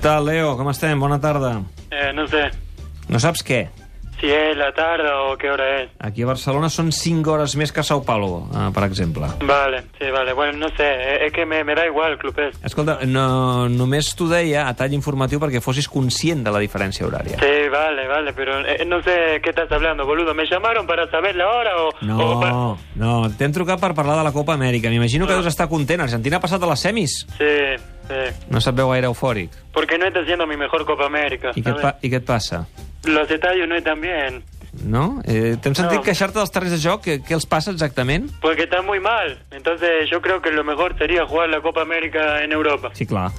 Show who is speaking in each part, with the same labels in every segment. Speaker 1: tal, Leo? Com estem? Bona tarda.
Speaker 2: Eh, no sé
Speaker 1: No saps què?
Speaker 2: si es la tarde o qué hora es.
Speaker 1: Aquí a Barcelona són 5 hores més que a Sao Paulo, eh, per exemple.
Speaker 2: Vale, sí, vale. Bueno, no sé, eh, es que me, me da igual, clubes.
Speaker 1: Escolta, no, només t'ho deia a tall informatiu perquè fossis conscient de la diferència horària.
Speaker 2: Sí, vale, vale, pero eh, no sé qué estás hablando, boludo. ¿Me llamaron para saber la hora o...? o para-
Speaker 1: No, no, t'hem trucat per parlar de la Copa Amèrica. M'imagino que deus estar content. Argentina ha passat a les semis.
Speaker 2: Sí, sí.
Speaker 1: No se't veu gaire eufòric.
Speaker 2: Porque no está siendo mi mejor Copa América,
Speaker 1: I què et,
Speaker 2: ¿sabes?
Speaker 1: pa i què et passa?
Speaker 2: Los estadios no están bien.
Speaker 1: No? Eh, T'hem sentit
Speaker 2: No.
Speaker 1: queixar-te dels terrenys de joc? Què, què els passa exactament?
Speaker 2: Porque están muy mal. Entonces yo creo que lo mejor sería jugar la Copa América en Europa.
Speaker 1: Sí, clar.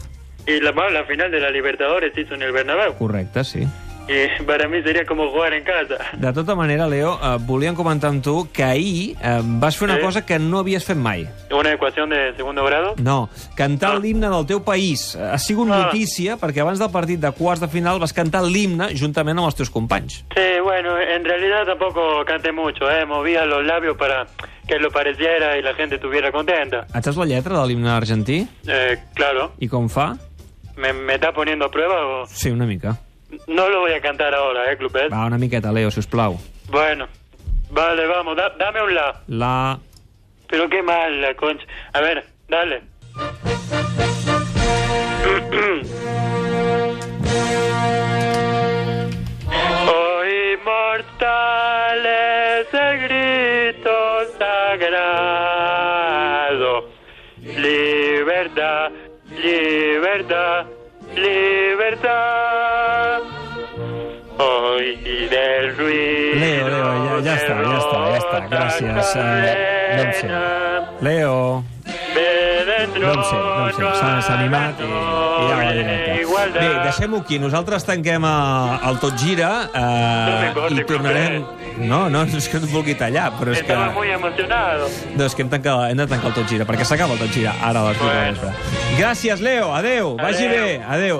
Speaker 2: Y la, la final de la Libertadores se hizo en el Bernabéu.
Speaker 1: Correcte, sí.
Speaker 2: Y para mí sería como jugar en casa.
Speaker 1: De tota manera, Leo, eh, volíem comentar amb tu que ahir eh, vas fer una
Speaker 2: Sí.
Speaker 1: cosa que no havies fet mai.
Speaker 2: ¿Una ecuación de segundo grado?
Speaker 1: No, cantar
Speaker 2: Ah.
Speaker 1: l'himne del teu país. Eh, Ha sigut
Speaker 2: Ah.
Speaker 1: notícia perquè abans del partit de quarts de final vas cantar l'himne juntament amb els teus companys.
Speaker 2: Sí, bueno, en realidad tampoco canté mucho, ¿eh? Movía los labios para que lo pareciera y la gente estuviera contenta.
Speaker 1: Et saps la lletra de l'himne argentí?
Speaker 2: Eh, claro,
Speaker 1: I com fa?
Speaker 2: ¿me, me está poniendo a prueba o...?
Speaker 1: Sí, una mica.
Speaker 2: No lo voy a cantar ahora, ¿eh, Clubes?
Speaker 1: Va, una miqueta, Leo, si us plau.
Speaker 2: Bueno, vale, vamos, da- dame un la.
Speaker 1: La...
Speaker 2: Pero qué mal, la concha. A ver, dale. Hoy mortales el grito sagrado. Libertad, libertad, libertad. Hoy del ruido.
Speaker 1: Leo, Leo, ya- ya está, ya está, ya está. Gracias, eh, Benson. Leo... No
Speaker 2: No
Speaker 1: en sé, no eh, en sé. S'ha s'ha animat i, i ja va directe. Bé, deixem-ho aquí. Nosaltres tanquem eh, el Tot Gira eh,
Speaker 2: Recordi,
Speaker 1: i tornarem... No, no, no és que no et vulgui tallar, però és que...
Speaker 2: Estaba muy emocionado.
Speaker 1: No, és que hem, tancat, hem de tancar el Tot Gira, perquè s'acaba el Tot Gira ara a les 8 de la
Speaker 2: Bueno.
Speaker 1: vespre. Gràcies, Leo. Adeu. Vagi
Speaker 2: Adeu.
Speaker 1: bé. Adeu.